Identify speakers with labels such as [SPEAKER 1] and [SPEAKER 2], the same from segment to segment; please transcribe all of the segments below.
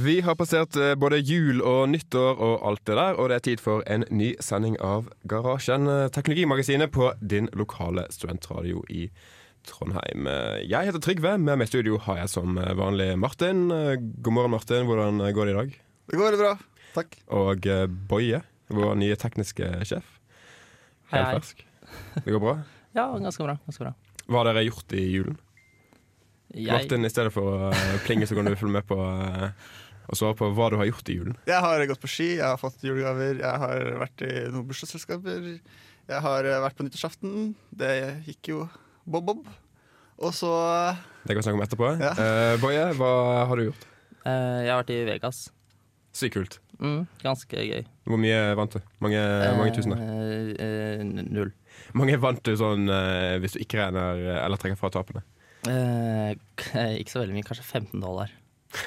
[SPEAKER 1] Vi har passert eh, både jul og nyttår og alt det der, og det er tid for en ny sending av Garasjen, eh, teknologimagasinet på din lokale studentradio i Trondheim. Eh, Jeg heter Trygve, med meg i studio har jeg som eh, vanlig Martin. Eh, God morgen, Martin. Hvordan eh, går det i dag?
[SPEAKER 2] Det går bra. Takk.
[SPEAKER 1] Og eh, Boje, vår nye tekniske sjef.
[SPEAKER 3] Hei, hei.
[SPEAKER 1] Helt fersk. Det går bra?
[SPEAKER 3] Ja, ganske bra. ganske bra.
[SPEAKER 1] Hva har dere gjort i julen?
[SPEAKER 3] Jeg,
[SPEAKER 1] Martin, i stedet for å eh, plinge, så kan du følge med på eh, og svare på hva du har gjort i julen.
[SPEAKER 2] Jeg har gått på ski, jeg har fått julegaver, jeg har vært i noen bursdagsselskaper. Jeg har eh, vært på nyttårsaften. Det gikk jo bob-bob. Og så
[SPEAKER 1] Det kan vi snakke om etterpå.
[SPEAKER 2] Ja.
[SPEAKER 1] Eh, Boje, hva har du gjort?
[SPEAKER 3] eh, jeg har vært i Vegas.
[SPEAKER 1] Sykt kult.
[SPEAKER 3] Mm, ganske gøy.
[SPEAKER 1] Hvor mye vant du? Mange, mange tusener?
[SPEAKER 3] Eh, eh, null.
[SPEAKER 1] Mange vant du sånn eh, hvis du ikke regner eh, eller trekker fra tapene?
[SPEAKER 3] Eh, k- ikke så veldig mye, kanskje 15 dollar.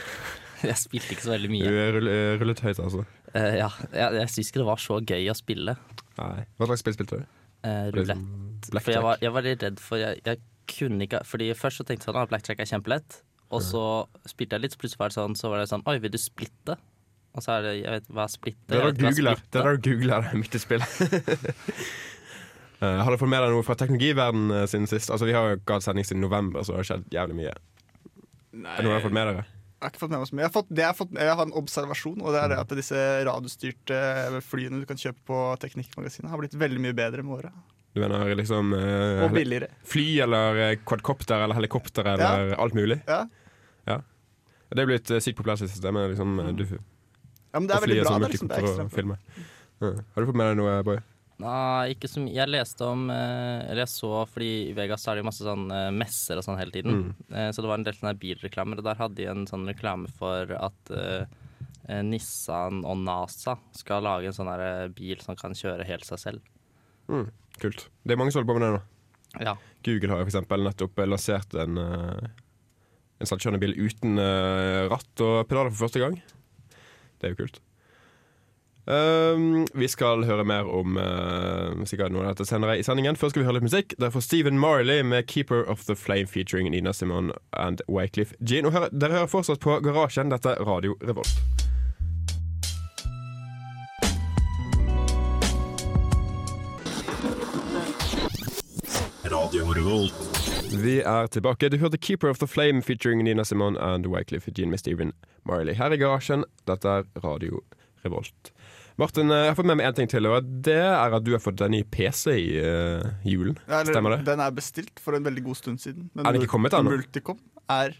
[SPEAKER 3] Jeg spilte ikke så veldig
[SPEAKER 1] Du
[SPEAKER 3] mye.
[SPEAKER 1] eh, rull- eh, rullet høyt, altså.
[SPEAKER 3] Eh, ja, jeg jeg syns ikke det var så gøy å spille
[SPEAKER 1] Nei. Hva slags spill spilte du?
[SPEAKER 3] eh,
[SPEAKER 1] Var det
[SPEAKER 3] rulett.
[SPEAKER 1] sånn
[SPEAKER 3] For
[SPEAKER 1] Blackjack?
[SPEAKER 3] jeg var, jeg var litt redd for jeg, jeg kunne ikke Fordi Først så tenkte jeg sånn at blackjack er kjempelett, og så spilte jeg litt, så plutselig var det sånn, så var det sånn Oi, vil du splitte? Og så er det Jeg vet hva er splitte?
[SPEAKER 1] Det
[SPEAKER 3] Jeg
[SPEAKER 1] er
[SPEAKER 3] vet
[SPEAKER 1] da
[SPEAKER 3] ikke hva
[SPEAKER 1] du googler. Det
[SPEAKER 3] splitte-
[SPEAKER 1] er da du googler midt i spillet. Eh, har du fått med deg noe fra teknologiverdenen eh, siden sist? Altså, Vi har jo ikke hatt sending siden november, så det har skjedd jævlig mye.
[SPEAKER 2] Nei,
[SPEAKER 1] Er det noe du har fått med dere?
[SPEAKER 2] Jeg har ikke fått med meg så mye. Jeg har, fått, det jeg, har fått, jeg har en observasjon, og det er det at disse radiostyrte flyene du kan kjøpe på Teknikkmagasinet, har blitt veldig mye bedre med åra.
[SPEAKER 1] Du mener liksom eh,
[SPEAKER 2] Og billigere.
[SPEAKER 1] fly eller eh, quadcopter eller helikopter eller alt mulig?
[SPEAKER 2] Ja.
[SPEAKER 1] Det er blitt eh, sykt populært i det siste, men liksom, eh, du
[SPEAKER 2] ja, men det
[SPEAKER 1] og
[SPEAKER 2] er
[SPEAKER 1] fly
[SPEAKER 2] veldig bra.
[SPEAKER 1] sånn
[SPEAKER 2] Det er, liksom, det er
[SPEAKER 1] multikopter
[SPEAKER 2] ekstra.
[SPEAKER 1] og filmer. Ja. Har du fått med deg noe, Boy?
[SPEAKER 3] Nei, ikke så mye. Jeg leste om eh, Eller jeg så, fordi i Vegas så er det jo masse sånn eh, messer og sånn hele tiden.
[SPEAKER 1] Mm.
[SPEAKER 3] Eh, Så det var en del sånne bilreklamer, og der hadde de en sånn reklame for at eh, eh, Nissan og NASA skal lage en sånn her eh, bil som kan kjøre helt seg selv.
[SPEAKER 1] Mm. Kult. Det er mange som holder på med det nå.
[SPEAKER 3] Ja.
[SPEAKER 1] Google har jo for eksempel nettopp eh, lansert en, eh, en selvkjørende bil uten eh, ratt og pedaler for første gang. Det er jo kult. Um, vi skal høre mer om eh, sikkert noe av dette senere i sendingen. Først skal vi høre litt musikk. Det er fra Stephen Marley med 'Keeper of the Flame' featuring Nina Simone and Wycliffe Jean. Og hører- dere hører fortsatt på Garasjen. Dette er Radio Revolt.
[SPEAKER 4] Radio Revolt.
[SPEAKER 1] Vi er tilbake. Du hørte 'Keeper of the Flame' featuring Nina Simone and Wycliffe Jean med Stephen Marley. Her i garasjen, dette er Radio Revolt. Martin, eh, jeg har fått med meg en ting til, og det er at du har fått en ny PC i eh, julen.
[SPEAKER 2] Ja, eller,
[SPEAKER 1] Stemmer det?
[SPEAKER 2] Den er bestilt for en veldig god stund siden. Men
[SPEAKER 1] Er den ikke kommet ennå?
[SPEAKER 2] Multicom er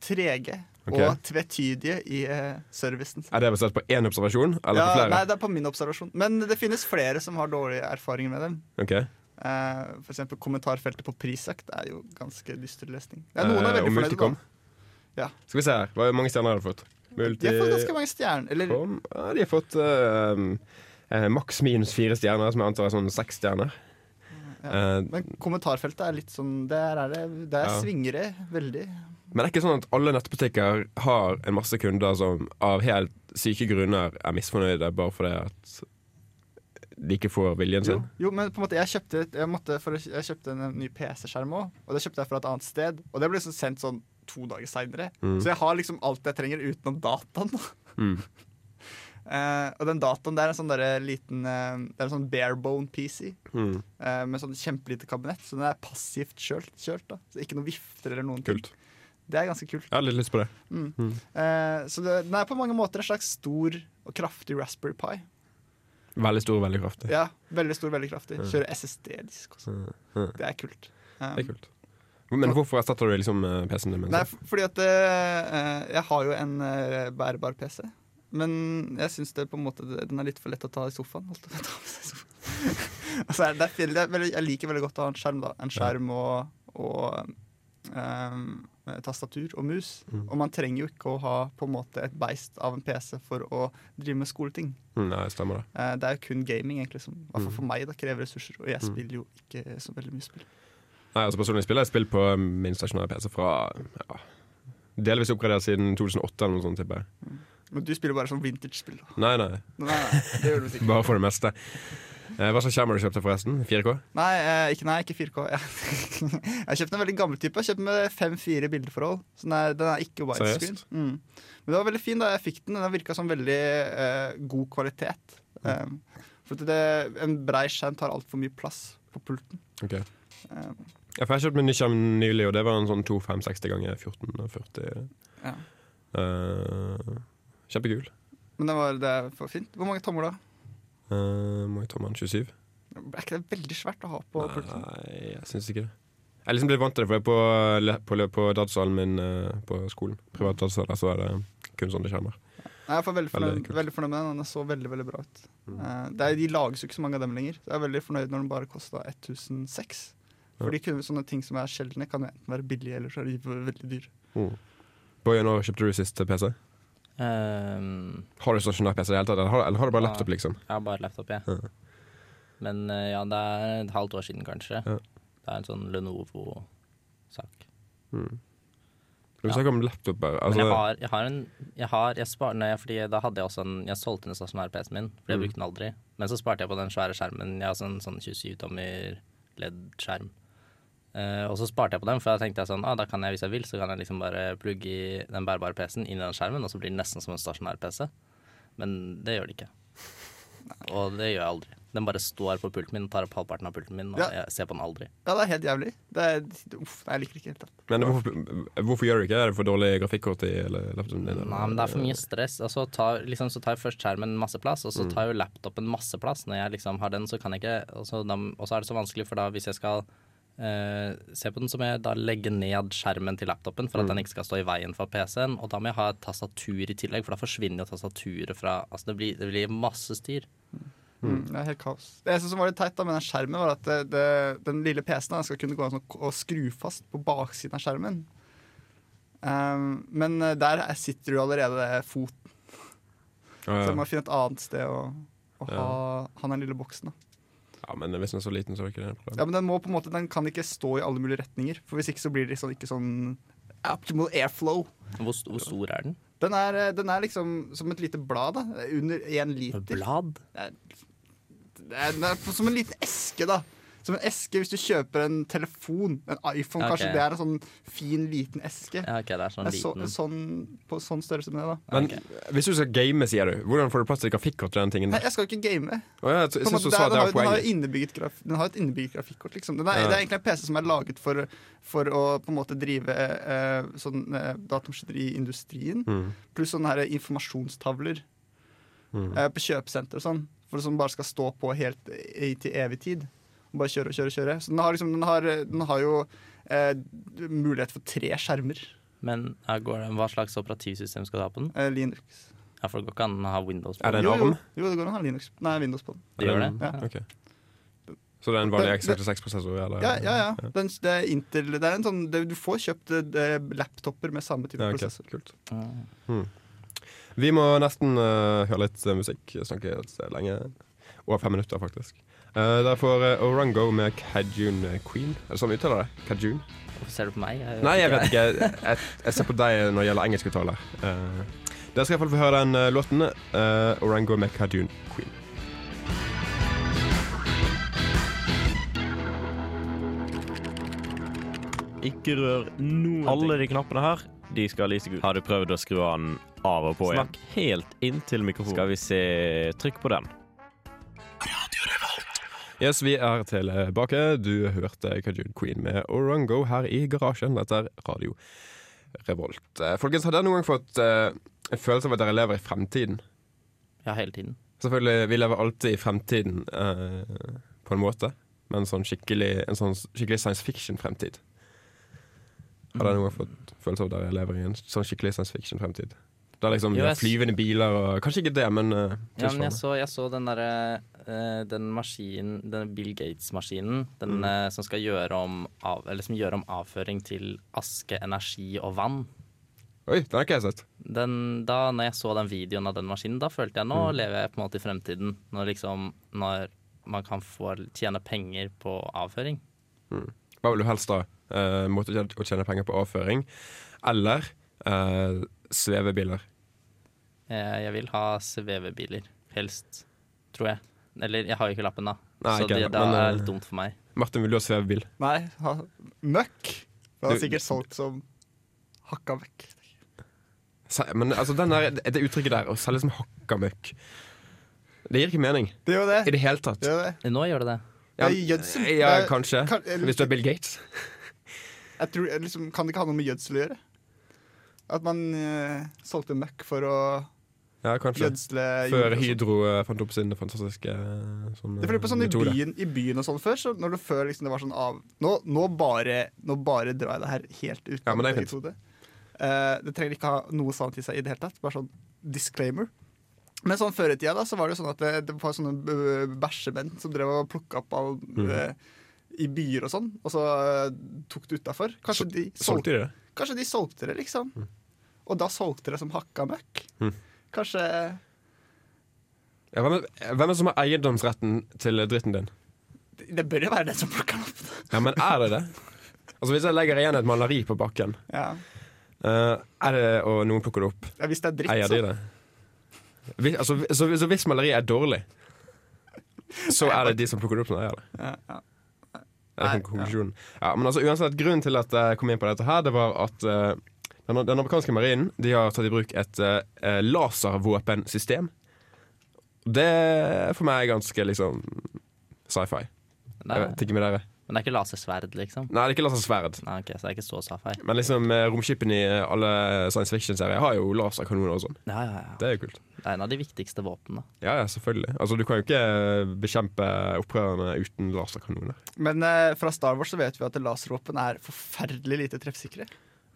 [SPEAKER 2] trege
[SPEAKER 1] Ok.
[SPEAKER 2] og tvetydige i eh, servicen.
[SPEAKER 1] Er det basert på én observasjon, eller på
[SPEAKER 2] Ja,
[SPEAKER 1] flere?
[SPEAKER 2] nei, det er på min observasjon. Men det finnes flere som har dårlige erfaringer med dem.
[SPEAKER 1] Ok.
[SPEAKER 2] Eh, for eksempel kommentarfeltet på Prisjakt er jo ganske dyster lesning. Ja, noen er
[SPEAKER 1] Eh, og
[SPEAKER 2] veldig fornøyd
[SPEAKER 1] Multicom.
[SPEAKER 2] med Ja.
[SPEAKER 1] Skal vi se her, hvor mange stjerner har du fått?
[SPEAKER 2] De har fått ganske mange stjerner. Eller
[SPEAKER 1] Multicom, ja, de har fått eh, eh, maks minus fire stjerner, som jeg antar er sånn seks stjerner.
[SPEAKER 2] Ja.
[SPEAKER 1] Eh,
[SPEAKER 2] Men kommentarfeltet er litt sånn Der er det der
[SPEAKER 1] Ja.
[SPEAKER 2] svinger det veldig.
[SPEAKER 1] Men det er ikke sånn at alle nettbutikker har en masse kunder som av helt syke grunner er misfornøyde bare fordi at de ikke får viljen
[SPEAKER 2] Jo,
[SPEAKER 1] sin?
[SPEAKER 2] jo, men på en måte jeg kjøpte, et- jeg måtte for, å- jeg kjøpte en ny PC-skjerm òg, og det kjøpte jeg fra et annet sted. Og det ble liksom sendt sånn to dager seinere. Så jeg har liksom alt jeg trenger utenom dataen.
[SPEAKER 1] Mm.
[SPEAKER 2] Eh, og den dataen der er en sånn derre liten eh, Det er en sånn barebone PC
[SPEAKER 1] Mm.
[SPEAKER 2] eh, med sånn kjempelite kabinett, så den er passivt kjølt. kjølt da. Så ikke noe vifter eller noen
[SPEAKER 1] Kult.
[SPEAKER 2] ting. Det er ganske kult.
[SPEAKER 1] Jeg har litt lyst på det.
[SPEAKER 2] Eh, så det, den er på mange måter en slags stor og kraftig Raspberry Pi.
[SPEAKER 1] Veldig stor og veldig kraftig.
[SPEAKER 2] Ja, veldig stor, veldig kraftig. Kjører SSD-disk også.
[SPEAKER 1] Ja.
[SPEAKER 2] sånn. Det er kult. Um,
[SPEAKER 1] Det er kult. Men hvorfor erstatter du liksom eh, PC-en din med
[SPEAKER 2] Nei,
[SPEAKER 1] en sånn?
[SPEAKER 2] f- fordi at eh, jeg har jo en eh, bærbar PC. Men jeg syns det på en måte den er litt for lett å ta i sofaen. Holdt jeg på å ta med seg i sofaen. altså, det er, fint- det er veldig, jeg liker veldig godt å ha en skjerm, da. En skjerm og, og ehm, tastatur og mus. Og man trenger jo ikke å ha på en måte et beist av en PC for å drive med skoleting.
[SPEAKER 1] Mm, Nei, stemmer det.
[SPEAKER 2] Eh, det er jo kun gaming egentlig som i hvert fall for meg da, krever ressurser, og jeg spiller jo ikke så veldig mye spill.
[SPEAKER 1] Nei, altså Personlig spiller jeg spill på min stasjonære PC fra ja, delvis oppgradert siden 2008 eller noe sånt, tipper jeg.
[SPEAKER 2] Men du spiller bare sånn vintage-spill. da.
[SPEAKER 1] Nei, nei.
[SPEAKER 2] Nei, nei, det gjør du sikkert.
[SPEAKER 1] Bare for det meste. Eh, Hva slags skjerm har du kjøpt deg, forresten? 4K?
[SPEAKER 2] Nei, eh, ikke, nei, ikke 4K. Jeg har kjøpt en veldig gammel type. Jeg har kjøpt med 5-4 bildeforhold. Så den er, den er ikke widescreen.
[SPEAKER 1] Seriøst?
[SPEAKER 2] Mm. Men det var veldig fin da jeg fikk den. Den virka som veldig eh, god kvalitet.
[SPEAKER 1] Mm.
[SPEAKER 2] Um, for at det, en brei skjerm tar altfor mye plass på pulten.
[SPEAKER 1] Ok.
[SPEAKER 2] Um,
[SPEAKER 1] Ja, for jeg kjøpte meg en ny skjerm nylig, og det var en sånn 2560 ganger 1440.
[SPEAKER 2] ja.
[SPEAKER 1] Eh, kjempekul.
[SPEAKER 2] Men det var, det er for fint. Hvor mange tommer da?
[SPEAKER 1] Eh, må jeg ta med den 27?
[SPEAKER 2] Er ikke det veldig svært å ha på pulten?
[SPEAKER 1] Nei, jeg syns ikke det. Jeg er liksom blitt vant til det, for jeg på, le- på, le- på datasalen min eh, på skolen, privat datasal, der så er det kun sånne skjermer.
[SPEAKER 2] Nei, Jeg er veldig
[SPEAKER 1] Veldig
[SPEAKER 2] fornøyd,
[SPEAKER 1] kult.
[SPEAKER 2] veldig fornøyd med den. Den så veldig veldig bra ut. Eh, det er, de lages jo ikke så mange av dem lenger. Så jeg er veldig fornøyd når den bare kosta 1006. For de kunne, sånne ting som er sjeldne, kan jo enten være billige eller så er de ve- veldig dyre.
[SPEAKER 1] Mm. Boje, når kjøpte du sist PC?
[SPEAKER 3] Ehm,
[SPEAKER 1] Har du sånn stasjonær PC i det hele tatt, eller har, eller har du bare
[SPEAKER 3] Ja.
[SPEAKER 1] laptop, liksom?
[SPEAKER 3] jeg har bare laptop, jeg.
[SPEAKER 1] Ja.
[SPEAKER 3] Men eh, ja, det er et halvt år siden, kanskje.
[SPEAKER 1] Ja.
[SPEAKER 3] Det er en sånn Lenovo-sak.
[SPEAKER 1] Du
[SPEAKER 3] Ja.
[SPEAKER 1] snakker om laptoper.
[SPEAKER 3] Men
[SPEAKER 1] Altså,
[SPEAKER 3] jeg har, jeg har en Jeg har, jeg spar, nei, fordi da hadde jeg også en Jeg solgte den stasjonære PC-en min, for jeg brukte den aldri. Men så sparte jeg på den svære skjermen. Jeg har også en sånn 27-tommer LED-skjerm. Eh, og så sparte jeg på den, for da tenkte jeg sånn ah, da kan jeg, hvis jeg vil, så kan jeg liksom bare plugge i den bærbare PC-en inn i den skjermen, og så blir det nesten som en stasjonær PC. Men det gjør det ikke. Og det gjør jeg aldri. Den bare står på pulten min, tar opp halvparten av pulten min, og
[SPEAKER 2] Ja.
[SPEAKER 3] jeg ser på den aldri.
[SPEAKER 2] Ja, det er helt jævlig. Det er, uff, nei, jeg liker det ikke helt. da.
[SPEAKER 1] men hvorfor, hvorfor gjør du ikke det? Er det for dårlig grafikkort i eller laptopen din?
[SPEAKER 3] Nei, men det er for mye stress. Og så tar, liksom, så tar jo først skjermen masse plass, og så tar jo laptopen masse plass. Når jeg liksom har den, så kan jeg ikke Og så da- og så er det så vanskelig, for da hvis jeg skal eh, se på den, så må jeg da legge ned skjermen til laptopen for at den ikke skal stå i veien for PC-en. Og da må jeg ha et tastatur i tillegg, for da forsvinner jo tastaturet fra Altså det blir, det blir masse styr.
[SPEAKER 2] Mm, det er helt kaos. Det eneste som var litt teit da med den skjermen, var at det, det, den lille PC-en da, skal kunne gå an å k- å skru fast på baksiden av skjermen. Ehm, men eh, der er- sitter du allerede fot,
[SPEAKER 1] Ja,
[SPEAKER 2] så
[SPEAKER 1] ja.
[SPEAKER 2] du må finne et annet sted å, å ha, ha den lille boksen. Da.
[SPEAKER 1] ja, men hvis den er så liten, så er det ikke det et problem.
[SPEAKER 2] Ja, men den, må på en måte, den kan ikke stå i alle mulige retninger, for hvis ikke så blir det liksom ikke sånn optimal airflow.
[SPEAKER 3] Hvor, st- hvor stor er den?
[SPEAKER 2] Den er, eh, den er liksom som et lite blad, da. Under én liter.
[SPEAKER 3] Blad?
[SPEAKER 2] Det er- det er, den er på- som en liten eske, da. Som en eske hvis du kjøper en telefon. En iPhone,
[SPEAKER 3] Ok.
[SPEAKER 2] kanskje. Det er en sånn fin, liten eske.
[SPEAKER 3] Ja, OK, det er
[SPEAKER 2] Det er
[SPEAKER 3] sånn
[SPEAKER 2] så,
[SPEAKER 3] liten.
[SPEAKER 2] sånn, på sånn størrelse med det, da.
[SPEAKER 1] Men
[SPEAKER 3] Ok.
[SPEAKER 1] hvis du skal game, sier du, hvordan får du plass til grafikkort til den tingen?
[SPEAKER 2] Nei,
[SPEAKER 1] der?
[SPEAKER 2] jeg skal ikke game.
[SPEAKER 1] Å, ja, jeg
[SPEAKER 2] På en
[SPEAKER 1] synes
[SPEAKER 2] måte,
[SPEAKER 1] du
[SPEAKER 2] det
[SPEAKER 1] sa
[SPEAKER 2] er-
[SPEAKER 1] at det var
[SPEAKER 2] Den har jo- den har jo
[SPEAKER 1] poenget.
[SPEAKER 2] innebygget graf- den har et innebygget grafikkort, liksom. Den er,
[SPEAKER 1] Ja.
[SPEAKER 2] Det er egentlig en PC som er laget for, for å på en måte drive eh, sånn eh, datamaskineri i industrien.
[SPEAKER 1] Mm.
[SPEAKER 2] Pluss sånne her informasjonstavler
[SPEAKER 1] Mm.
[SPEAKER 2] eh, på kjøpesenter og sånn. For Som bare skal stå på helt i, til evig tid. Og bare kjøre og kjøre og kjøre. Så den har, liksom, den har, den har jo eh, mulighet for tre skjermer.
[SPEAKER 3] Men ja, går det, hva slags operativsystem skal du ha på den?
[SPEAKER 2] Eh, Linux.
[SPEAKER 3] Ja, For det går ikke an å ha Windows på
[SPEAKER 1] Er det
[SPEAKER 3] den.
[SPEAKER 1] en
[SPEAKER 2] Jo, jo,
[SPEAKER 1] arm?
[SPEAKER 2] jo, det går an å ha Linux. Nei, Windows på den.
[SPEAKER 3] Det gjør det?
[SPEAKER 2] Ja.
[SPEAKER 1] Ok. Så det er en vanlig
[SPEAKER 2] Det- det-
[SPEAKER 1] X86-prosessor? eller?
[SPEAKER 2] Ja, ja. ja. Den, det er Intel, det er en sånn, det, du får kjøpt eh, laptopper med samme type
[SPEAKER 1] Ja, ok.
[SPEAKER 2] prosessor.
[SPEAKER 1] Kult.
[SPEAKER 3] Ja. Mm.
[SPEAKER 1] Vi må nesten eh, høre litt eh, musikk. Snakke lenge. Over fem minutter, faktisk. Eh, der får eh, Orango med Cajun Queen. Er det sånn vi uttaler det? Cajun?
[SPEAKER 3] Hvorfor ser du på meg?
[SPEAKER 1] Nei, jeg vet ikke. Jeg, jeg, jeg ser på deg når det gjelder engelskuttaler. Uh, dere skal iallfall få høre den eh, låten. eh, Orango med Cajun Queen.
[SPEAKER 4] Ikke rør noen Alle de knappene her, de skal lyse gult. Har du prøvd å skru den av og på igjen? Snakk helt inntil mikrofonen. Skal vi se Trykk på den.
[SPEAKER 1] Yes, vi er tilbake. Du hørte Cajun Queen med Orango her i garasjen. Dette er Radio Revolt. Eh, folkens, har dere noen gang fått eh, en følelse av at dere lever i fremtiden?
[SPEAKER 3] Ja, hele tiden.
[SPEAKER 1] Selvfølgelig, vi lever alltid i fremtiden eh, på en måte, men sånn skikkelig, en sånn skikkelig science fiction-fremtid. Har dere noen gang fått følelse av at dere lever i en sånn skikkelig science fiction-fremtid? Det er liksom
[SPEAKER 3] Jo,
[SPEAKER 1] vi har
[SPEAKER 3] jeg s-
[SPEAKER 1] flyvende biler og Kanskje ikke det, men eh,
[SPEAKER 3] Ja, men jeg
[SPEAKER 1] tilsvarende.
[SPEAKER 3] så, jeg så den derre eh, Den maskinen, den Bill Gates-maskinen, den
[SPEAKER 1] Mm.
[SPEAKER 3] eh, som skal gjøre om, av, eller som gjør om avføring til aske, energi og vann.
[SPEAKER 1] Oi, den har ikke jeg sett.
[SPEAKER 3] Den, da når jeg så den videoen av den maskinen, da følte jeg nå
[SPEAKER 1] Mm.
[SPEAKER 3] lever jeg på en måte i fremtiden. Når liksom Når man kan få tjene penger på avføring.
[SPEAKER 1] Hva vil du helst da? Eh, måte å tjene penger på avføring eller eh, svevebiler?
[SPEAKER 3] Eh, jeg vil ha svevebiler, helst, tror jeg. Eller, jeg har jo ikke lappen, da.
[SPEAKER 1] Nei,
[SPEAKER 3] så
[SPEAKER 1] ikke
[SPEAKER 3] det,
[SPEAKER 1] heller,
[SPEAKER 3] da
[SPEAKER 1] men,
[SPEAKER 3] er
[SPEAKER 1] eh,
[SPEAKER 3] det dumt for meg.
[SPEAKER 1] Martin, vil du ha svevebil?
[SPEAKER 2] Nei, ha, møkk! Det var
[SPEAKER 1] Du-
[SPEAKER 2] sikkert solgt som hakka møkk.
[SPEAKER 1] Se- Men altså, den der, det uttrykket der, å selge som hakka møkk Det gir ikke mening
[SPEAKER 2] Det gjør det.
[SPEAKER 1] i det hele tatt.
[SPEAKER 2] det, gjør det.
[SPEAKER 3] Nå gjør det det.
[SPEAKER 2] Det er gjødsel.
[SPEAKER 1] Ja,
[SPEAKER 2] Det er-
[SPEAKER 1] kanskje.
[SPEAKER 2] kan- eller-
[SPEAKER 1] Hvis du er Bill Gates.
[SPEAKER 2] Jeg tror, jeg liksom, kan det ikke ha noe med gjødsel å gjøre? At man eh, solgte møkk for å
[SPEAKER 1] Ja, kanskje. Før
[SPEAKER 2] gjødsle jord og sånt.
[SPEAKER 1] Hydro eh, fant opp sine fantastiske eh, sånne
[SPEAKER 2] Det er fordi på sånn i
[SPEAKER 1] metoder.
[SPEAKER 2] byen, I byen og sånn før, så når du før liksom det var sånn av Nå, nå, bare, nå bare drar jeg det her helt ut
[SPEAKER 1] Ja, men det er
[SPEAKER 2] mitt eget hode. Eh, det trenger ikke ha noe sant i seg i det hele tatt. Bare sånn disclaimer. Men sånn før i tida da, så var det jo sånn at det, det var sånne b- bæsjemenn som drev og plukka opp all
[SPEAKER 1] Mm.
[SPEAKER 2] eh, i byer og sånn, og så eh, tok det utafor. Kanskje, de solgte-
[SPEAKER 1] Solgte de det?
[SPEAKER 2] kanskje de solgte det, liksom. Og da solgte det som hakka møkk.
[SPEAKER 1] Mm.
[SPEAKER 2] Kanskje
[SPEAKER 1] Ja, hvem, er, hvem er det som har eiendomsretten til dritten din?
[SPEAKER 2] Det bør jo være den som plukker den opp.
[SPEAKER 1] Ja, men er det det? Altså Hvis jeg legger igjen et maleri på bakken,
[SPEAKER 2] Ja.
[SPEAKER 1] eh, er det, og noen plukker det opp,
[SPEAKER 2] Ja, hvis det er dritt,
[SPEAKER 1] eier de det? Vi, altså, vi- så, så hvis maleriet er dårlig, så er det de som plukker det opp, som eier det?
[SPEAKER 2] Ja, ja.
[SPEAKER 1] Er
[SPEAKER 2] Nei,
[SPEAKER 1] det konklusjonen. Ja, men altså uansett, Grunnen til at jeg kom inn på dette, her Det var at eh, den, den amerikanske marinen De har tatt i bruk et eh, eh, laservåpensystem. Det er for meg ganske liksom sci-fi.
[SPEAKER 3] Men
[SPEAKER 1] Jeg
[SPEAKER 3] det,
[SPEAKER 1] vet ikke med dere.
[SPEAKER 3] er, men det er ikke lasersverd, liksom.
[SPEAKER 1] Nei, det er ikke lasersverd.
[SPEAKER 3] Nei, ok, så det er ikke så sci-fi.
[SPEAKER 1] Men liksom eh, romskipene i alle science fiction-serier har jo laserkanoner og sånn.
[SPEAKER 3] Ja, ja, ja.
[SPEAKER 1] Det er jo kult.
[SPEAKER 3] Det er en av de viktigste våpnene.
[SPEAKER 1] Ja, ja, selvfølgelig. Altså, Du kan jo ikke eh, bekjempe opprørerne uten laserkanoner.
[SPEAKER 2] Men eh, fra Star Wars så vet vi at laservåpen er forferdelig lite treffsikre.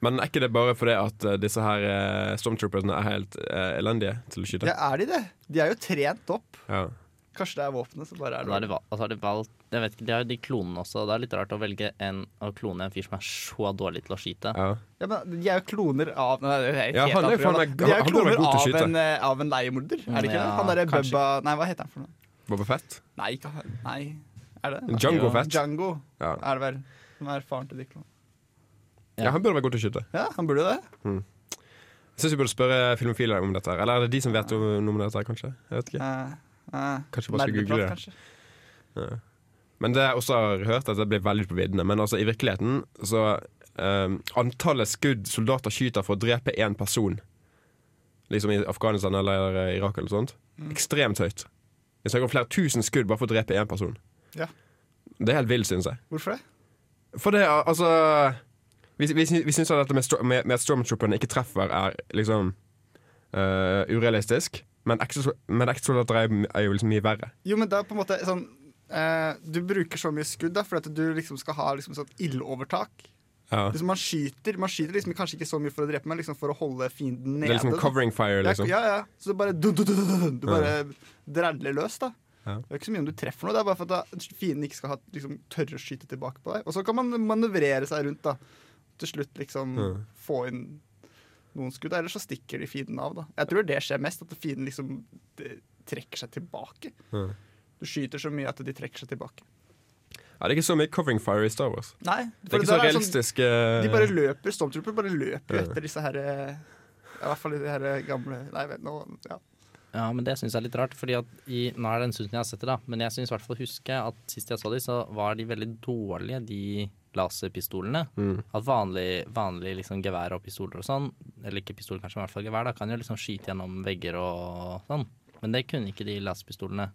[SPEAKER 1] Men er ikke det bare fordi at eh, disse her eh, stormtroopersene er helt eh, elendige til å skyte?
[SPEAKER 2] Ja, er de det? De er jo trent opp.
[SPEAKER 1] Ja.
[SPEAKER 2] Kanskje det er våpenet som bare er
[SPEAKER 3] Og da har de val- og så har de valgt jeg vet ikke, De har jo de klonene også. og Det er litt rart å velge en, å klone en fyr som er så dårlig til å skyte.
[SPEAKER 1] Ja.
[SPEAKER 2] Ja, men De er jo kloner av Nei, det er
[SPEAKER 1] Ja,
[SPEAKER 2] helt
[SPEAKER 1] han er jo
[SPEAKER 2] annet
[SPEAKER 1] faen
[SPEAKER 2] program,
[SPEAKER 1] meg-
[SPEAKER 2] da. De er
[SPEAKER 1] han
[SPEAKER 2] jo
[SPEAKER 1] burde vært
[SPEAKER 2] kloner
[SPEAKER 1] god til å
[SPEAKER 2] av
[SPEAKER 1] skyte.
[SPEAKER 2] en, eh, av en leiemorder, er det ikke det?
[SPEAKER 3] Ja,
[SPEAKER 2] Han derre
[SPEAKER 1] kanskje.
[SPEAKER 2] Bubba Nei, hva heter han for noe?
[SPEAKER 1] Boba Fett?
[SPEAKER 2] Nei, ikke han. Nei. Er det? Nei.
[SPEAKER 1] Django
[SPEAKER 3] jo.
[SPEAKER 1] Fett?
[SPEAKER 2] Django
[SPEAKER 1] Ja.
[SPEAKER 2] er det vel. Som er faren til de klonene.
[SPEAKER 1] ja, han burde være god til å skyte.
[SPEAKER 2] Ja, han burde jo det.
[SPEAKER 1] Jeg synes vi burde spørre filmofile om dette. her Eller er det de som vet om, noe om dette, her, kanskje? Jeg vet ikke.
[SPEAKER 2] Eh, eh,
[SPEAKER 1] Kanskje bare skal google
[SPEAKER 2] nerdeprat,
[SPEAKER 1] det.
[SPEAKER 2] kanskje.
[SPEAKER 1] Men det jeg også har hørt, at det blir veldig på viddene. Men altså, i virkeligheten så ehm, Antallet skudd soldater skyter for å drepe én person, liksom i Afghanistan eller eh, Irak eller sånt, ekstremt høyt. Vi snakker om flere tusen skudd bare for å drepe én person.
[SPEAKER 2] Ja.
[SPEAKER 1] Det er helt vilt, syns jeg.
[SPEAKER 2] Hvorfor det?
[SPEAKER 1] For det, er, altså Vi, vi, sy- vi syns at dette med, stor- med, med at stormtrooperne ikke treffer, er liksom eh, urealistisk. Men ekstrasoldater men ekstrasoldater er, jo- er jo liksom mye verre.
[SPEAKER 2] Jo, men det er på en måte sånn eh, Du bruker så mye skudd da, for at du liksom skal ha liksom sånn ildovertak.
[SPEAKER 1] Ja.
[SPEAKER 2] Liksom man skyter, man skyter liksom kanskje ikke så mye for å drepe, men liksom for å holde fienden
[SPEAKER 1] Det
[SPEAKER 2] nede.
[SPEAKER 1] er liksom
[SPEAKER 2] da.
[SPEAKER 1] covering fire, liksom.
[SPEAKER 2] Ja, ja. Så du bare, du, du, du, du, du, du bare dreller løs, da.
[SPEAKER 1] Ja.
[SPEAKER 2] Det er ikke så mye om du treffer noe, det er bare for at da- fienden ikke skal ha, liksom, tørre å skyte tilbake på deg. Og så kan man manøvrere seg rundt, da. Til slutt liksom
[SPEAKER 1] Mm.
[SPEAKER 2] få inn noen skudd, da. ellers så stikker de fienden av, da. Jeg tror det skjer mest, at fienden liksom eh, trekker seg tilbake.
[SPEAKER 1] Mm.
[SPEAKER 2] Du skyter så mye at de trekker seg tilbake.
[SPEAKER 1] Ja, det er ikke så mye covering fire i Star Wars.
[SPEAKER 2] Nei,
[SPEAKER 1] Det er ikke så realistisk eh,
[SPEAKER 2] sånn- De bare løper, stormtrooper bare løper
[SPEAKER 1] Ja.
[SPEAKER 2] etter disse her eh, ja, I hvert fall i de her eh, gamle Nei, vent nå ja.
[SPEAKER 3] Ja, men det syns jeg er litt rart, fordi at i, nå er det en stund siden jeg har sett det, da. Men jeg syns i hvert fall å huske at sist jeg så de, så var de veldig dårlige, de laserpistolene.
[SPEAKER 2] Mm.
[SPEAKER 3] At vanlig, vanlig liksom gevær og pistoler og sånn, eller ikke pistol kanskje, men i hvert fall gevær, da kan jo liksom skyte gjennom vegger og sånn. Men det kunne ikke de laserpistolene.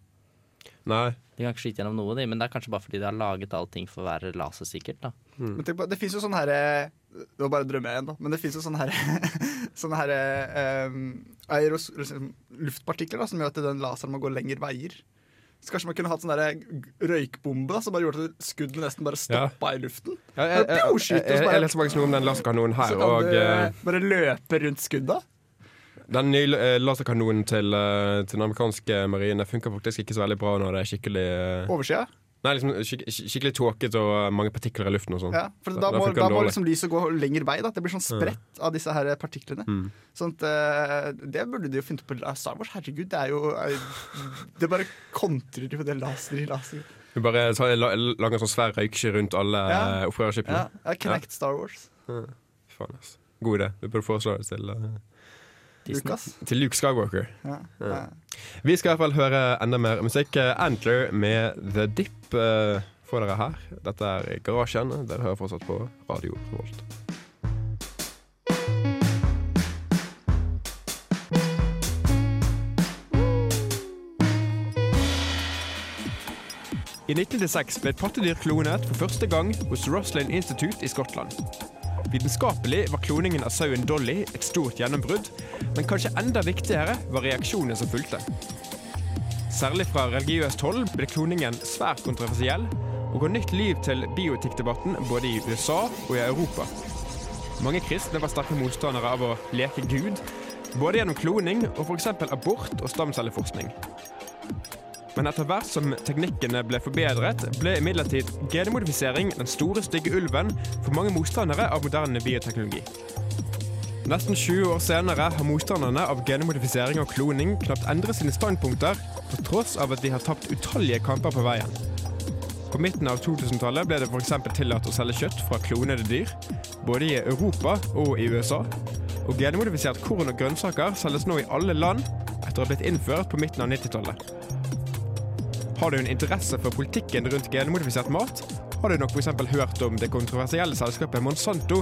[SPEAKER 1] Nei.
[SPEAKER 3] De kan ikke skyte gjennom noe, de, men det er kanskje bare fordi de har laget allting for å være lasersikkert, da.
[SPEAKER 1] Mm.
[SPEAKER 2] Men tenk på, det fins jo sånne herre Nå bare drømmer jeg igjen, da. Men det fins jo sånne herre Sånne her, em, aeros, liksom, luftpartikler da, som gjør at den laseren må gå lengre veier. Så kanskje man kunne hatt sånn der røykbombe da, som bare gjorde at skuddene nesten bare stoppa i luften.
[SPEAKER 1] Ja, jeg,
[SPEAKER 2] jeg-
[SPEAKER 1] jeg,
[SPEAKER 2] Pew,
[SPEAKER 1] jeg,
[SPEAKER 2] skyter, så
[SPEAKER 1] jeg,
[SPEAKER 2] bare-
[SPEAKER 1] leser faktisk noe om den laserkanonen her.
[SPEAKER 2] Så kan
[SPEAKER 1] Og
[SPEAKER 2] du
[SPEAKER 1] eh,
[SPEAKER 2] bare løpe rundt skudda.
[SPEAKER 1] den nye eh, laserkanonen til, eh, til den amerikanske marine funker faktisk ikke så veldig bra når det er skikkelig eh,
[SPEAKER 2] Oversida.
[SPEAKER 1] Nei, liksom skik skik- skikkelig tåket og eh, mange partikler i luften og sånn.
[SPEAKER 2] Ja, for
[SPEAKER 1] Da-
[SPEAKER 2] da,
[SPEAKER 1] da
[SPEAKER 2] må,
[SPEAKER 1] funker
[SPEAKER 2] da
[SPEAKER 1] den
[SPEAKER 2] må
[SPEAKER 1] dårlig. Mm.
[SPEAKER 2] liksom lyset gå lengre vei. da Det blir sånn spredt av disse her partiklene. Sånn at, eh, det burde de jo funnet på i Star Wars. Herregud, det er jo eh, Det bare kontrer jo det laser i laser.
[SPEAKER 1] Vi bare tar, la, lager en sånn svær røyksky rundt alle
[SPEAKER 2] Ja.
[SPEAKER 1] eh, opprørerskipene.
[SPEAKER 2] Ja, ja, Connect Star Wars.
[SPEAKER 1] Faen, ass. God idé. Du burde foreslå det til eh,
[SPEAKER 3] Disney.
[SPEAKER 2] Lukas.
[SPEAKER 1] Til Luke Skywalker.
[SPEAKER 2] Ja. Ja.
[SPEAKER 1] Vi skal i hvert fall høre enda mer musikk. Antler med The Dip eh, får dere her. Dette er Garasjen. Dere hører fortsatt på Radio Revolt. I 1996 ble et pattedyr klonet for første gang hos Roslin Institute i Skottland. Vitenskapelig var kloningen av sauen Dolly et stort gjennombrudd, men kanskje enda viktigere var reaksjonene som fulgte. Særlig fra religiøst hold ble kloningen svært kontroversiell og ga nytt liv til biotikkdebatten både i USA og i Europa. Mange kristne var sterke motstandere av å leke Gud, både gjennom kloning og f.eks. abort og stamcelleforskning. Men etter hvert som teknikkene ble forbedret, ble imidlertid genmodifisering den store, stygge ulven for mange motstandere av moderne bioteknologi. Nesten 20 år senere har motstanderne av genmodifisering og kloning knapt endret sine standpunkter, på tross av at de har tapt utallige kamper på veien. På midten av 2000-tallet ble det f.eks. tillatt å selge kjøtt fra klonede dyr, både i Europa og i USA. Og genmodifisert korn og grønnsaker selges nå i alle land etter å ha blitt innført på midten av 90-tallet. Har du en interesse for politikken rundt genmodifisert mat, har du nok f.eks. hørt om det kontroversielle selskapet Monsanto,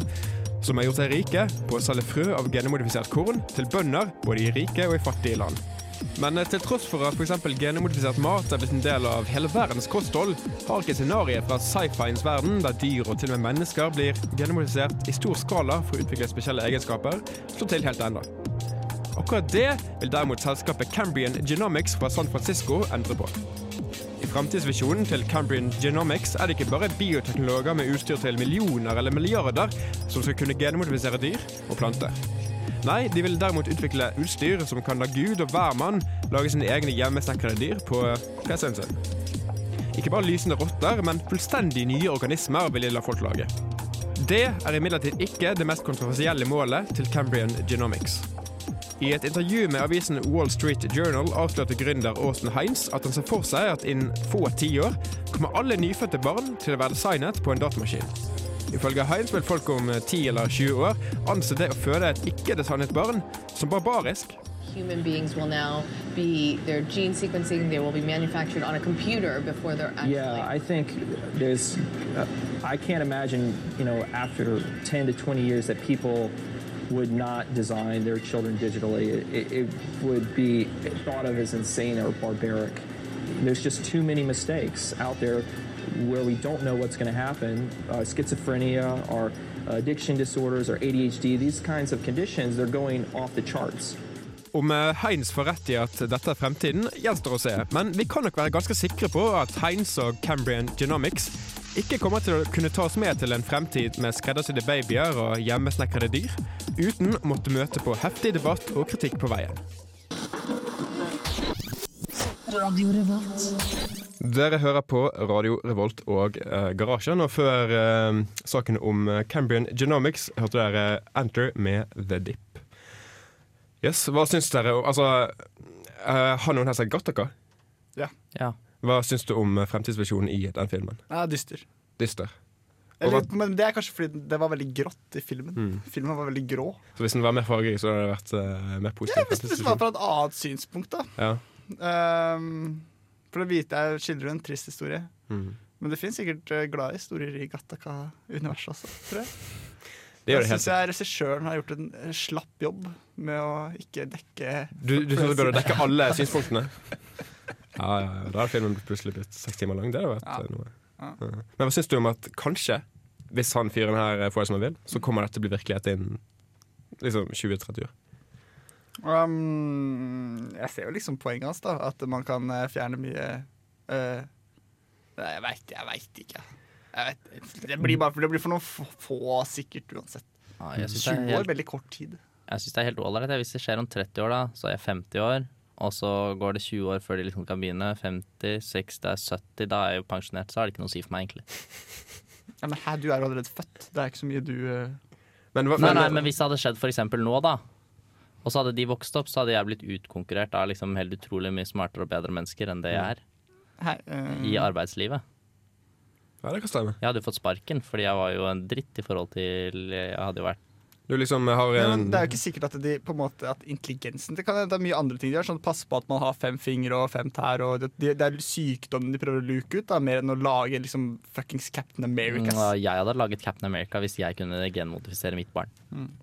[SPEAKER 1] som har gjort seg rike på å selge frø av genmodifisert korn til bønder både i rike og i fattige land. Men eh, til tross for at f.eks. genmodifisert mat er blitt en del av hele verdens kosthold, har ikke scenarioet fra sci-fiens verden, der dyr og til og med mennesker blir genmodifisert i stor skala for å utvikle spesielle egenskaper, slått til helt ennå. Akkurat det vil derimot selskapet Cambrian Genomics fra San Francisco endre på. I fremtidsvisjonen til Cambrian Genomics er det ikke bare bioteknologer med utstyr til millioner eller milliarder som skal kunne genmodifisere dyr og planter. Nei, de vil derimot utvikle utstyr som kan la Gud og hvermann lage sine egne hjemmesnekrede dyr på PC-en sin. Ikke bare lysende rotter, men fullstendig nye organismer vil de la folk lage. Det er imidlertid ikke det mest kontroversielle målet til Cambrian Genomics. I et intervju med avisen Wall Street Journal avslørte gründer Austin Heinz at han ser for seg at innen få tiår kommer alle nyfødte barn til å være designet på en datamaskin. Ifølge Heinz vil folk om 10 eller 20 år anse det å føde et ikke-designet barn som barbarisk.
[SPEAKER 5] Human beings will now be their gene sequencing. They will be manufactured on a computer before they're actually.
[SPEAKER 6] Yeah, I think there's. Uh, I can't imagine, you know, after 10 to 20 years that people would not design their children digitally. It- It, it would be thought of as insane or barbaric. There's just too many mistakes out there where we don't know what's going to happen. Uh, schizophrenia or addiction disorders or ADHD, these kinds of conditions, they're going off the charts.
[SPEAKER 1] Om eh, Heinz får rett i at dette er fremtiden, gjenstår å se. Men vi kan nok være ganske sikre på at Heinz og Cambrian Genomics ikke kommer til å kunne tas med til en fremtid med skreddersydde babyer og hjemmesnekrede dyr, uten å måtte møte på heftig debatt og kritikk på veien. Dere hører på Radio Revolt og eh, Garasjen, og før eh, saken om eh, Cambrian Genomics hørte dere Enter med The Dip. Yes, Hva syns dere om Altså, eh, har noen her sett Gattaca?
[SPEAKER 3] Ja.
[SPEAKER 1] Hva syns du om eh, fremtidsvisjonen i den filmen?
[SPEAKER 2] Ja, dyster.
[SPEAKER 1] Dyster.
[SPEAKER 2] Jeg
[SPEAKER 1] Og
[SPEAKER 2] lurer på- men det er kanskje fordi det var veldig grått i filmen. Filmen var veldig grå.
[SPEAKER 1] Så Hvis den var mer fargerik, så hadde det vært eh, mer positiv.
[SPEAKER 2] Hvis det var fra et annet synspunkt, da.
[SPEAKER 1] ja.
[SPEAKER 2] Ehm, for det hvite er skildrer en trist historie.
[SPEAKER 1] Mm.
[SPEAKER 2] Men det finnes sikkert eh, glade historier i Gattaka-universet også, tror jeg.
[SPEAKER 1] Det gjør
[SPEAKER 2] jeg
[SPEAKER 1] det helt
[SPEAKER 2] syns
[SPEAKER 1] sikkert.
[SPEAKER 2] jeg regissøren har gjort en eh, slapp jobb med å ikke dekke
[SPEAKER 1] Du, du synes det burde dekke alle synspunktene? Ja, ja, ja. Da hadde filmen plutselig blitt seks timer lang. Det hadde vært
[SPEAKER 2] Ja.
[SPEAKER 1] eh, noe.
[SPEAKER 2] Ja.
[SPEAKER 1] Ja. Men hva syns du om at kanskje, hvis han fyren her eh, får det som han vil, så kommer dette til å bli virkelighet innen liksom 20-30 år?
[SPEAKER 2] Ehm, Jeg ser jo liksom poenget hans, da. At man kan eh, fjerne mye eh, Nei, jeg veit jeg vet ikke. Jeg vet, det, blir bare, det blir for noen få, få sikkert uansett.
[SPEAKER 3] Ja, jeg syns
[SPEAKER 2] 20
[SPEAKER 3] det er
[SPEAKER 2] år,
[SPEAKER 3] helt-
[SPEAKER 2] veldig kort tid.
[SPEAKER 3] jeg synes det er helt ålreit. jeg. Hvis det skjer om 30 år, da, så er jeg 50 år. Og så går det 20 år før de liksom kan begynne. 50, 60, det er 70. Da er jeg jo pensjonert, så har det ikke noe å si for meg, egentlig.
[SPEAKER 2] Ja, men hæ, du er jo allerede født. Det er ikke så mye du eh,
[SPEAKER 1] Men, hva-
[SPEAKER 3] Nei, nei, men hvis det hadde skjedd for eksempel nå, da. Og så hadde de vokst opp, så hadde jeg blitt utkonkurrert av liksom helt utrolig mye smartere og bedre mennesker enn det jeg er
[SPEAKER 2] hæ, eh,
[SPEAKER 3] i arbeidslivet.
[SPEAKER 1] Ja, det kan stemme.
[SPEAKER 3] Jeg hadde jo fått sparken, fordi jeg var jo en dritt i forhold til Jeg hadde jo vært
[SPEAKER 1] Du liksom har
[SPEAKER 2] Ja,
[SPEAKER 1] en
[SPEAKER 2] men det er jo ikke sikkert at, de, på en måte, at intelligensen Det kan hende mye andre ting de gjør. Sånn, Passe på at man har fem fingre og fem tær. Og det, det er sykdommen de prøver å luke ut, da, mer enn å lage liksom, fuckings Captain America.
[SPEAKER 3] Mm, Ja, jeg hadde laget Captain America hvis jeg kunne genmodifisere mitt barn.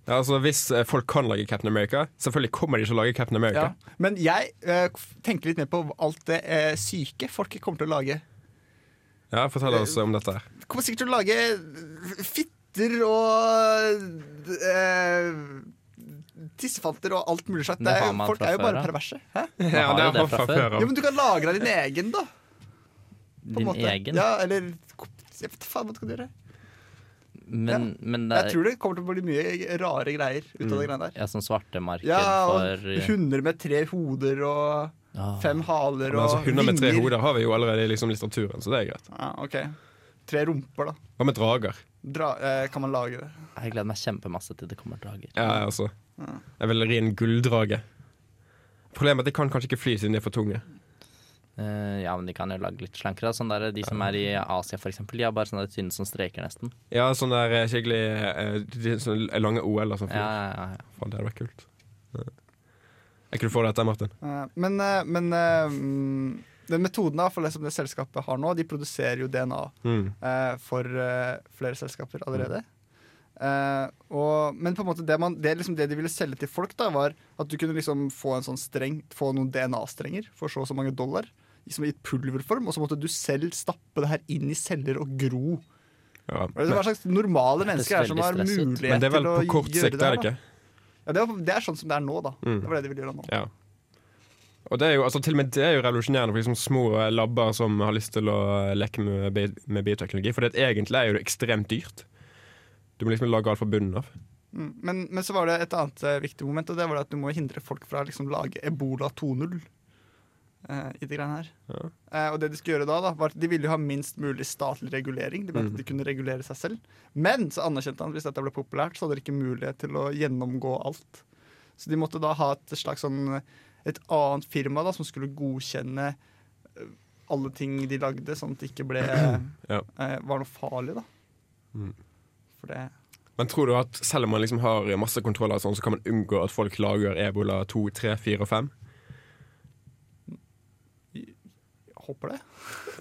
[SPEAKER 1] Ja, altså Hvis eh, folk kan lage Captain America Selvfølgelig kommer de ikke til å lage Captain America.
[SPEAKER 2] Ja. Men jeg eh, f- tenker litt mer på alt det eh, syke folk kommer til å lage.
[SPEAKER 1] Ja, Fortell oss om dette. her
[SPEAKER 2] Kommer sikkert til å lage f- fitter og eh, tissefanter og alt mulig slags.
[SPEAKER 3] Det
[SPEAKER 2] Det er,
[SPEAKER 3] har man
[SPEAKER 2] folk
[SPEAKER 3] fra
[SPEAKER 2] er jo bare
[SPEAKER 3] før av.
[SPEAKER 2] perverse. Hæ?
[SPEAKER 3] Man har jo det fra før.
[SPEAKER 2] Jo, men du kan lagre din egen, da. På en
[SPEAKER 3] Din
[SPEAKER 2] måte.
[SPEAKER 3] egen.
[SPEAKER 2] Ja, eller Jeg vet faen hva du skal gjøre.
[SPEAKER 3] Men, men det
[SPEAKER 2] Jeg
[SPEAKER 3] er
[SPEAKER 2] tror det kommer til å bli mye rare greier ut av det greiene der.
[SPEAKER 3] ja, sånn svartemarked
[SPEAKER 2] Ja, og
[SPEAKER 3] for eh,
[SPEAKER 2] hunder med tre hoder og
[SPEAKER 3] ah,
[SPEAKER 2] fem haler
[SPEAKER 1] Men
[SPEAKER 2] og
[SPEAKER 1] altså, Hunder med tre
[SPEAKER 2] vinger.
[SPEAKER 1] hoder har vi jo allerede i liksom, litteraturen, så det er greit.
[SPEAKER 2] Ja, ok. Tre rumper, da.
[SPEAKER 1] Hva med drager?
[SPEAKER 2] Dra, eh, kan man lage det?
[SPEAKER 3] Jeg gleder meg kjempemasse til det kommer drager.
[SPEAKER 1] Ja, altså. jeg også. Jeg vil ri en gulldrage. Problemet er at de kan kanskje ikke fly siden de er for tunge.
[SPEAKER 3] Eh, ja, men de kan jo lage litt slankere. Sånn der, de som er i Asia, for eksempel, de har bare sånne tynne som streker, nesten.
[SPEAKER 1] Ja, sånn der eh, skikkelig eh, de- sånne lange OL-er som
[SPEAKER 3] Ja,
[SPEAKER 1] flyr.
[SPEAKER 3] ja, ja.
[SPEAKER 1] Faen, det hadde vært kult. Jeg kunne få dette, Martin.
[SPEAKER 2] Eh, men eh, men eh, mm, den metoden da, for liksom det som det selskapet har nå, de produserer jo DNA
[SPEAKER 1] Mm.
[SPEAKER 2] eh, for eh, flere selskaper allerede. Eh, og, men på en måte det, man, det, er liksom det de ville selge til folk, da var at du kunne liksom få en sånn streng Få noen DNA-strenger for så og så mange dollar. Som i et pulverform, og så måtte du selv stappe det her inn i celler og gro.
[SPEAKER 1] Ja.
[SPEAKER 2] Og det er Hva slags normale mennesker er det som
[SPEAKER 3] veldig
[SPEAKER 2] har
[SPEAKER 3] stress ut.
[SPEAKER 1] Men
[SPEAKER 2] mulighet
[SPEAKER 1] det er vel
[SPEAKER 2] til å
[SPEAKER 1] på kort
[SPEAKER 2] gjøre
[SPEAKER 1] sikt, er
[SPEAKER 2] det? her,
[SPEAKER 1] det
[SPEAKER 2] da?
[SPEAKER 1] ikke?
[SPEAKER 2] Ja, det, var, det er sånn som det er nå, da. Det var det de ville gjøre nå.
[SPEAKER 1] Ja. Og det er jo, altså, til og med det er jo revolusjonerende for liksom små eh, labber som har lyst til å eh, leke med, bi- med bioteknologi. For det at egentlig er jo det ekstremt dyrt. Du må liksom lage alt fra bunnen av.
[SPEAKER 2] Mm, Men, men så var det et annet eh, viktig moment, og det var det at du må hindre folk fra å liksom, lage Ebola 2.0. eh, i det greiene her. Eh, og det de skulle gjøre da, da, var at de ville jo ha minst mulig statlig regulering. De mente at de kunne regulere seg selv. Men så anerkjente han at hvis dette ble populært, så hadde de ikke mulighet til å gjennomgå alt. Så de måtte da ha et slags sånn et annet firma da, som skulle godkjenne eh, alle ting de lagde, sånn at det ikke ble,
[SPEAKER 1] Ja.
[SPEAKER 2] eh, var noe farlig, da. For det
[SPEAKER 1] Men tror du at selv om man liksom har masse kontroller, og sånn, så kan man unngå at folk lager ebola 2, 3, 4 og 5?
[SPEAKER 2] jeg håper det.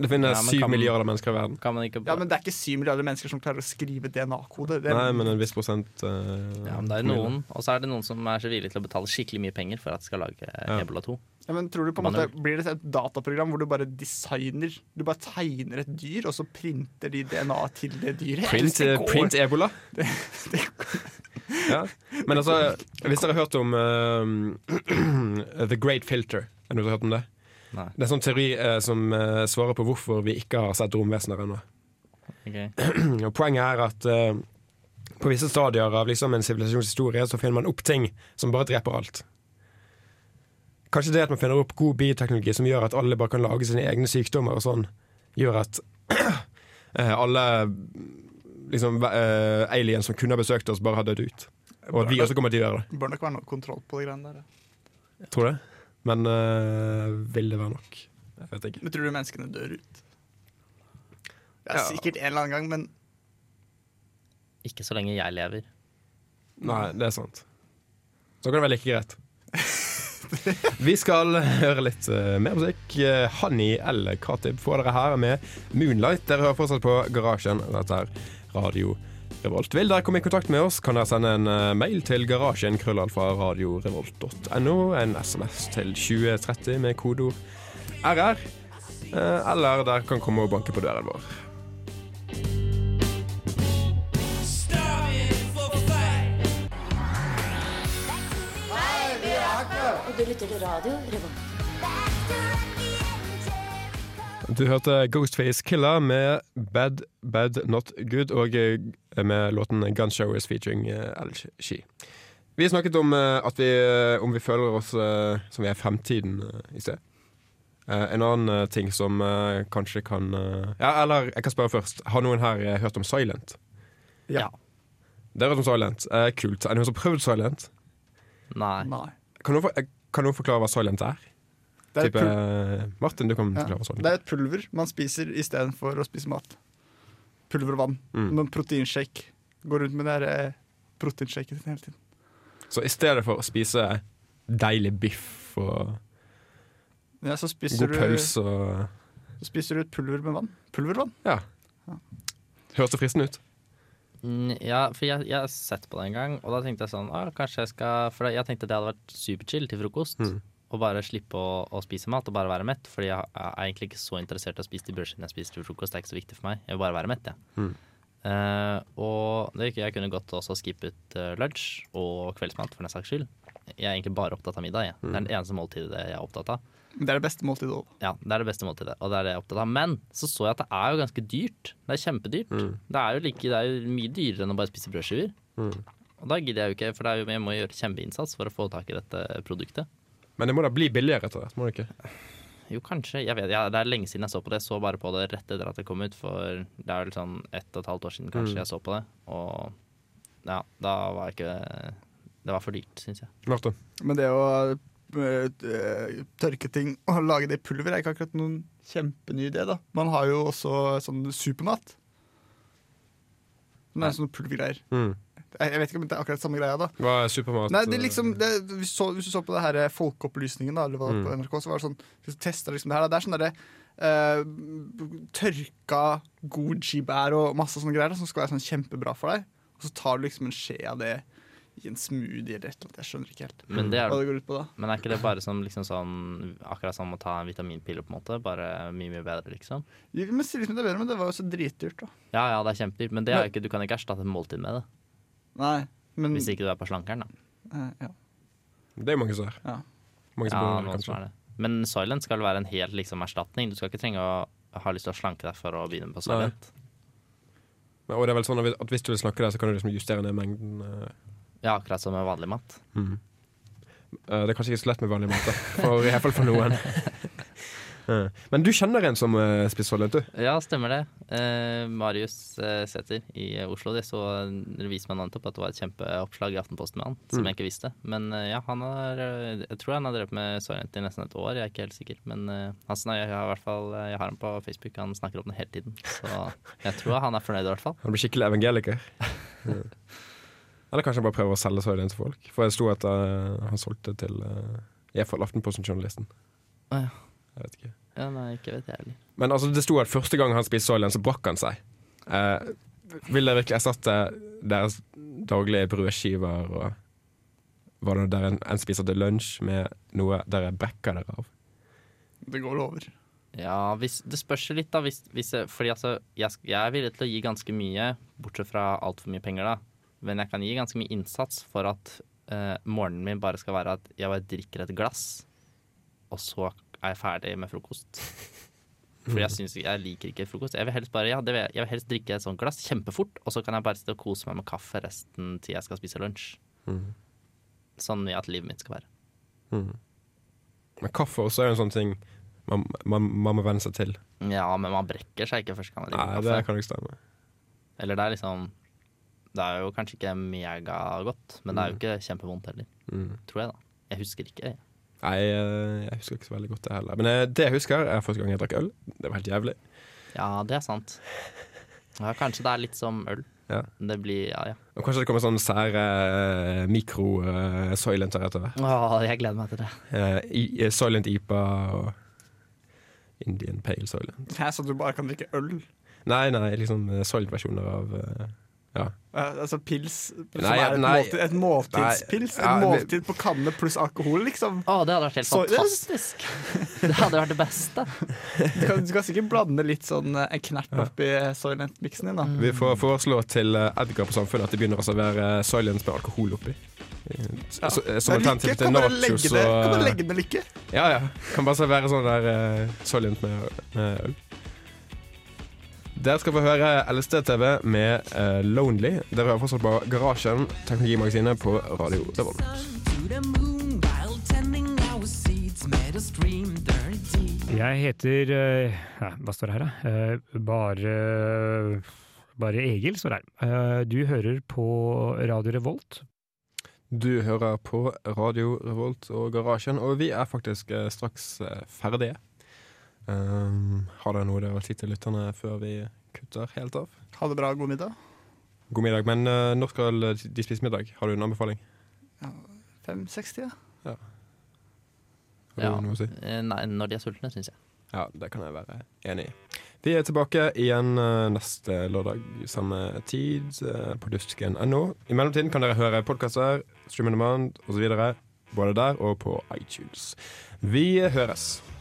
[SPEAKER 1] Det finnes
[SPEAKER 3] Ja, men
[SPEAKER 1] 7
[SPEAKER 3] kan-
[SPEAKER 1] milliarder mennesker i verden.
[SPEAKER 3] Kan man ikke
[SPEAKER 2] Ja, men Det er ikke syv milliarder mennesker som klarer å skrive DNA-kode. Det,
[SPEAKER 1] Nei, men en viss prosent eh,
[SPEAKER 3] Ja, men det er
[SPEAKER 1] promille.
[SPEAKER 3] noen. Og så er det noen som er så villige til å betale skikkelig mye penger for at de skal lage eh, Ebola 2.
[SPEAKER 2] ja, men tror du på en
[SPEAKER 3] Man
[SPEAKER 2] måte
[SPEAKER 3] er-
[SPEAKER 2] Blir det et dataprogram hvor du bare designer Du bare tegner et dyr, og så printer de DNA til det dyret?
[SPEAKER 1] Print,
[SPEAKER 2] det
[SPEAKER 1] eh,
[SPEAKER 2] går-
[SPEAKER 1] print ebola?
[SPEAKER 2] det,
[SPEAKER 1] Ja. Men altså, hvis dere har hørt om eh, The Great Filter Har dere hørt om det?
[SPEAKER 3] Nei.
[SPEAKER 1] Det er en sånn teori eh, som eh, svarer på hvorfor vi ikke har sett romvesener ennå.
[SPEAKER 3] Ok.
[SPEAKER 1] Og Poenget er at eh, på visse stadier av liksom en sivilisasjons historie så finner man opp ting som bare dreper alt. Kanskje det at man finner opp god bioteknologi som gjør at alle bare kan lage sine egne sykdommer og sånn, gjør at eh, alle liksom, eh, aliens som kunne ha besøkt oss, bare har dødd ut. Og at vi også kommer til å gjøre det.
[SPEAKER 2] bør nok være noe kontroll på de greiene der. ja.
[SPEAKER 1] Tror det. Men eh, vil det være nok? Jeg vet ikke.
[SPEAKER 2] Men tror du menneskene dør ut? Ja,
[SPEAKER 1] Ja.
[SPEAKER 2] Sikkert en eller annen gang, men
[SPEAKER 3] Ikke så lenge jeg lever.
[SPEAKER 1] Nei, det er sant. Så kan det være like greit. Vi skal høre litt eh, mer musikk. Eh, Hani El Khatib får dere her med 'Moonlight'. Dere hører fortsatt på Garasjen. Dette er Radio Revolt. Vil dere komme i kontakt med oss, kan dere sende en eh, mail til garasjen krøllalfa radiorevolt.no. En SMS til 2030 med kodeord RR. eh, Eller dere kan komme og banke på døren vår.
[SPEAKER 7] Og du lytter til radio Revolt.
[SPEAKER 1] Du hørte Ghostface Killer med Bad Bad Not Good og eh, med låten Gunshowers featuring eh, Al Shi. Vi snakket om eh, at vi, eh, om vi føler oss eh, som vi er fremtiden eh, i sted. Eh, En annen eh, ting som eh, kanskje kan eh, Ja, eller jeg kan spørre først. Har noen her eh, hørt om Silent?
[SPEAKER 2] ja.
[SPEAKER 1] Det har hørt om Silent. Eh, Kult. Er det noen som har prøvd Silent?
[SPEAKER 3] Nei.
[SPEAKER 2] Nei.
[SPEAKER 1] Kan noen, for- eh, kan noen forklare hva Silent er?
[SPEAKER 2] Det er, et
[SPEAKER 1] Type,
[SPEAKER 2] pul
[SPEAKER 1] eh, Martin, du kan
[SPEAKER 2] ja.
[SPEAKER 1] forklare hva Silent
[SPEAKER 2] det
[SPEAKER 1] er.
[SPEAKER 2] er et pulver man spiser istedenfor å spise mat. Pulver og vann.
[SPEAKER 1] Mm.
[SPEAKER 2] Noen proteinshake. Går rundt med det her, eh, proteinshaken sin hele tiden.
[SPEAKER 1] Så i stedet for å spise deilig biff og
[SPEAKER 2] Ja, så spiser
[SPEAKER 1] god
[SPEAKER 2] du,
[SPEAKER 1] pølse og
[SPEAKER 2] så spiser du et pulver med vann. Pulvervann.
[SPEAKER 1] Ja. Høres det fristende ut?
[SPEAKER 3] Mm, Ja, for jeg, jeg har sett på det en gang, og da tenkte jeg sånn ah, Kanskje jeg skal For jeg tenkte det hadde vært superchill til frokost. Å bare slippe å, å spise mat og bare være mett. Fordi jeg er egentlig ikke så interessert i å spise de brødskivene jeg spiser til frokost. Det er ikke så viktig for meg. Jeg vil bare være mett, jeg. Eh, og det virker jeg kunne godt også skippet uh, lunsj og kveldsmat, for den saks skyld. Jeg er egentlig bare opptatt av middag. Jeg. Det er det eneste måltidet jeg er opptatt av.
[SPEAKER 2] Det er det beste måltidet òg.
[SPEAKER 3] Ja, det er det beste måltidet, og det er det jeg er opptatt av. Men så så jeg at det er jo ganske dyrt. Det er kjempedyrt. Det, er jo like, det er jo mye dyrere enn å bare spise brødskiver. Og da gidder jeg jo ikke, for det er jo, jeg må gjøre kjempeinnsats for å få tak i dette produktet.
[SPEAKER 1] Men det må da bli billigere etter hvert, må det ikke?
[SPEAKER 3] Jo, kanskje. Jeg vet, ja, det er lenge siden jeg så på det. Jeg så bare på det rett etter at det kom ut, for det er vel sånn ett og et halvt år siden kanskje jeg så på det. Og ja, da var jeg ikke Det var for dyrt, syns jeg.
[SPEAKER 1] Martin?
[SPEAKER 2] Men det å eh, eh, tørke ting og lage det i pulver er ikke akkurat noen kjempeny idé. da Man har jo også sånn supermat. Nei, sånne pulvergreier. Jeg jeg vet ikke om det er akkurat samme greia, da.
[SPEAKER 1] Hva er Mm. supermat? eh,
[SPEAKER 2] Nei, det er liksom det, hvis, du så, hvis du så på det her eh, Folkeopplysningen da, eller hva, på NRK, så var det sånn Hvis du tester liksom det her, da, det er sånn derre eh, Tørka goji-bær og masse sånne greier da, som skal være sånn kjempebra for deg. Og så tar du liksom en skje av det i en smoothie eller et eller annet. Jeg skjønner ikke helt
[SPEAKER 3] Men det er
[SPEAKER 2] hva det går ut på da.
[SPEAKER 3] Men er ikke det bare som liksom sånn Akkurat som å ta en vitaminpille, på en måte? Bare mye, mye bedre, liksom?
[SPEAKER 2] Jo, Men sier liksom det er bedre, men det var jo så dritdyrt, da.
[SPEAKER 3] Ja ja, det er kjempedyrt, men det er jo ikke, du kan ikke erstatte et måltid med det.
[SPEAKER 2] Nei, men
[SPEAKER 3] Hvis ikke du er på slankeren, da.
[SPEAKER 2] eh, ja.
[SPEAKER 1] Det er jo mange som er.
[SPEAKER 2] Ja.
[SPEAKER 1] Mange
[SPEAKER 3] Ja,
[SPEAKER 1] som bor der,
[SPEAKER 3] noen
[SPEAKER 1] kanskje.
[SPEAKER 3] som er det. Men Soylent skal være en helt liksom, erstatning. Du skal ikke trenge å ha lyst til å slanke deg for å begynne på Soylent.
[SPEAKER 1] Men- Og det er vel sånn at hvis- at hvis du vil snakke der, så kan du liksom justere ned mengden. eh.
[SPEAKER 3] Ja, akkurat som med vanlig mat.
[SPEAKER 2] Mm.
[SPEAKER 1] Eh, Det er kanskje ikke så lett med vanlig mat, da. For, i hvert fall for noen. Eh, Men du kjenner en som eh, spiser solent, du?
[SPEAKER 3] Ja, stemmer det. Eh, Marius eh, Sæther i eh, Oslo. Jeg så dere viste meg nettopp at det var et kjempeoppslag i Aftenposten med han, som jeg ikke visste. Men eh, ja, han har eh, Jeg tror han har drevet med Soylent i nesten et år, jeg er ikke helt sikker. Men eh, han snak- jeg har i hvert fall eh, Jeg har ham på Facebook, han snakker om det hele tiden. Så jeg tror han er fornøyd, i hvert fall.
[SPEAKER 1] Han blir skikkelig evangeliker. Ja. Eller kanskje han bare prøver å selge soyaen til folk. For jeg sto at eh, han solgte til uh, iallfall Aftenposten-journalisten.
[SPEAKER 3] Å ja.
[SPEAKER 1] Jeg vet ikke.
[SPEAKER 3] Ja, nei, ikke vet jeg heller.
[SPEAKER 1] Men altså, det sto at første gang han spiste soyaen, så brakk han seg. Eh, vil dere virkelig erstatte deres daglige brødskiver og hva det dere enn spiser til lunsj, med noe dere brekker dere av?
[SPEAKER 2] Det går over.
[SPEAKER 3] Ja, hvis, det spørs jo litt, da. Hvis, hvis, jeg- fordi altså, jeg, sk- jeg er villig til å gi ganske mye, bortsett fra altfor mye penger, da. Men jeg kan gi ganske mye innsats for at eh, morgenen min bare skal være at jeg bare drikker et glass, og så er jeg ferdig med frokost. For jeg, synes, jeg liker ikke frokost. Jeg vil helst bare, ja, det vil jeg, jeg vil helst drikke et sånt glass kjempefort, og så kan jeg bare sitte og kose meg med kaffe resten til jeg skal spise lunsj. Sånn at livet mitt skal være.
[SPEAKER 1] Men kaffe også er jo en sånn ting man, man, man må venne seg til.
[SPEAKER 3] Ja, men man brekker seg ikke første gang man
[SPEAKER 1] Nei,
[SPEAKER 3] drikker
[SPEAKER 1] det
[SPEAKER 3] kaffe.
[SPEAKER 1] kan jo ikke stemme.
[SPEAKER 3] Eller det er liksom Det er jo kanskje ikke megagodt, men det er jo ikke kjempevondt heller. Tror jeg, da. Jeg husker ikke. jeg.
[SPEAKER 1] Nei, eh, jeg husker ikke så veldig godt det heller. Men eh, det jeg husker, er første gang jeg drakk øl. Det var helt jævlig.
[SPEAKER 3] Ja, det er sant. Ja, kanskje det er litt som øl.
[SPEAKER 1] Ja.
[SPEAKER 3] Det blir Ja, ja.
[SPEAKER 1] Og kanskje det kommer sånn sære eh, mikro-soylenter etter hvert.
[SPEAKER 3] Å, jeg gleder meg til det.
[SPEAKER 1] Eh, i- eh, Soylent IPA og Indian Pale Soylent.
[SPEAKER 2] Her så du bare kan drikke øl.
[SPEAKER 1] Nei, nei, liksom eh, Soylent-versjoner av eh, Ja.
[SPEAKER 2] Eh, altså pils som
[SPEAKER 1] Nei,
[SPEAKER 2] er et,
[SPEAKER 1] nei.
[SPEAKER 2] måltid, et måltidspils.
[SPEAKER 1] Nei, ja,
[SPEAKER 2] et
[SPEAKER 1] det-
[SPEAKER 2] måltid på kanne pluss alkohol, liksom.
[SPEAKER 3] Å, det hadde vært helt
[SPEAKER 2] Så-
[SPEAKER 3] fantastisk! Det hadde vært det beste.
[SPEAKER 2] Du kan, du kan sikkert blande litt sånn eh, en knert oppi Soylent-miksen din, da.
[SPEAKER 1] Vi får foreslå til eh, Edgar på Samfunnet at de begynner å servere Soylent med alkohol oppi. Eh, s-
[SPEAKER 2] Ja.
[SPEAKER 1] så- eh, Som
[SPEAKER 2] Det er lykke.
[SPEAKER 1] alternativ til
[SPEAKER 2] Kan dere
[SPEAKER 1] nachos
[SPEAKER 2] legge
[SPEAKER 1] og
[SPEAKER 2] det- Kan dere
[SPEAKER 1] eh,
[SPEAKER 2] legge ned lykke?
[SPEAKER 1] Ja, ja. Kan bare servere sånn der uh, Soylent med, med øl. Der skal vi høre LSD-TV med eh, Lonely. Dere hører fortsatt på Garasjen, teknologimagasinet på Radio Revolt.
[SPEAKER 8] Jeg heter eh, ja, Hva står det her, da? Eh, Bare bare Egil står det her. Eh, Du hører på Radio Revolt.
[SPEAKER 1] Du hører på Radio Revolt og Garasjen, og vi er faktisk eh, straks eh, ferdige. Ehm, Um, har dere noe dere vil si til lytterne før vi kutter helt av?
[SPEAKER 2] Ha det bra, god middag.
[SPEAKER 1] God middag. Men eh, når skal de spise middag? Har du en anbefaling?
[SPEAKER 2] Fem-seks-tida?
[SPEAKER 1] Har du
[SPEAKER 3] Ja.
[SPEAKER 1] noe å si?
[SPEAKER 3] Eh, Nei, når de er sultne, syns jeg.
[SPEAKER 1] Ja, det kan jeg være enig i. Vi er tilbake igjen eh, neste lørdag samme tid eh, på dusken.no. I mellomtiden kan dere høre podkaster, Stream on Demand osv. Både der og på iTunes. Vi høres.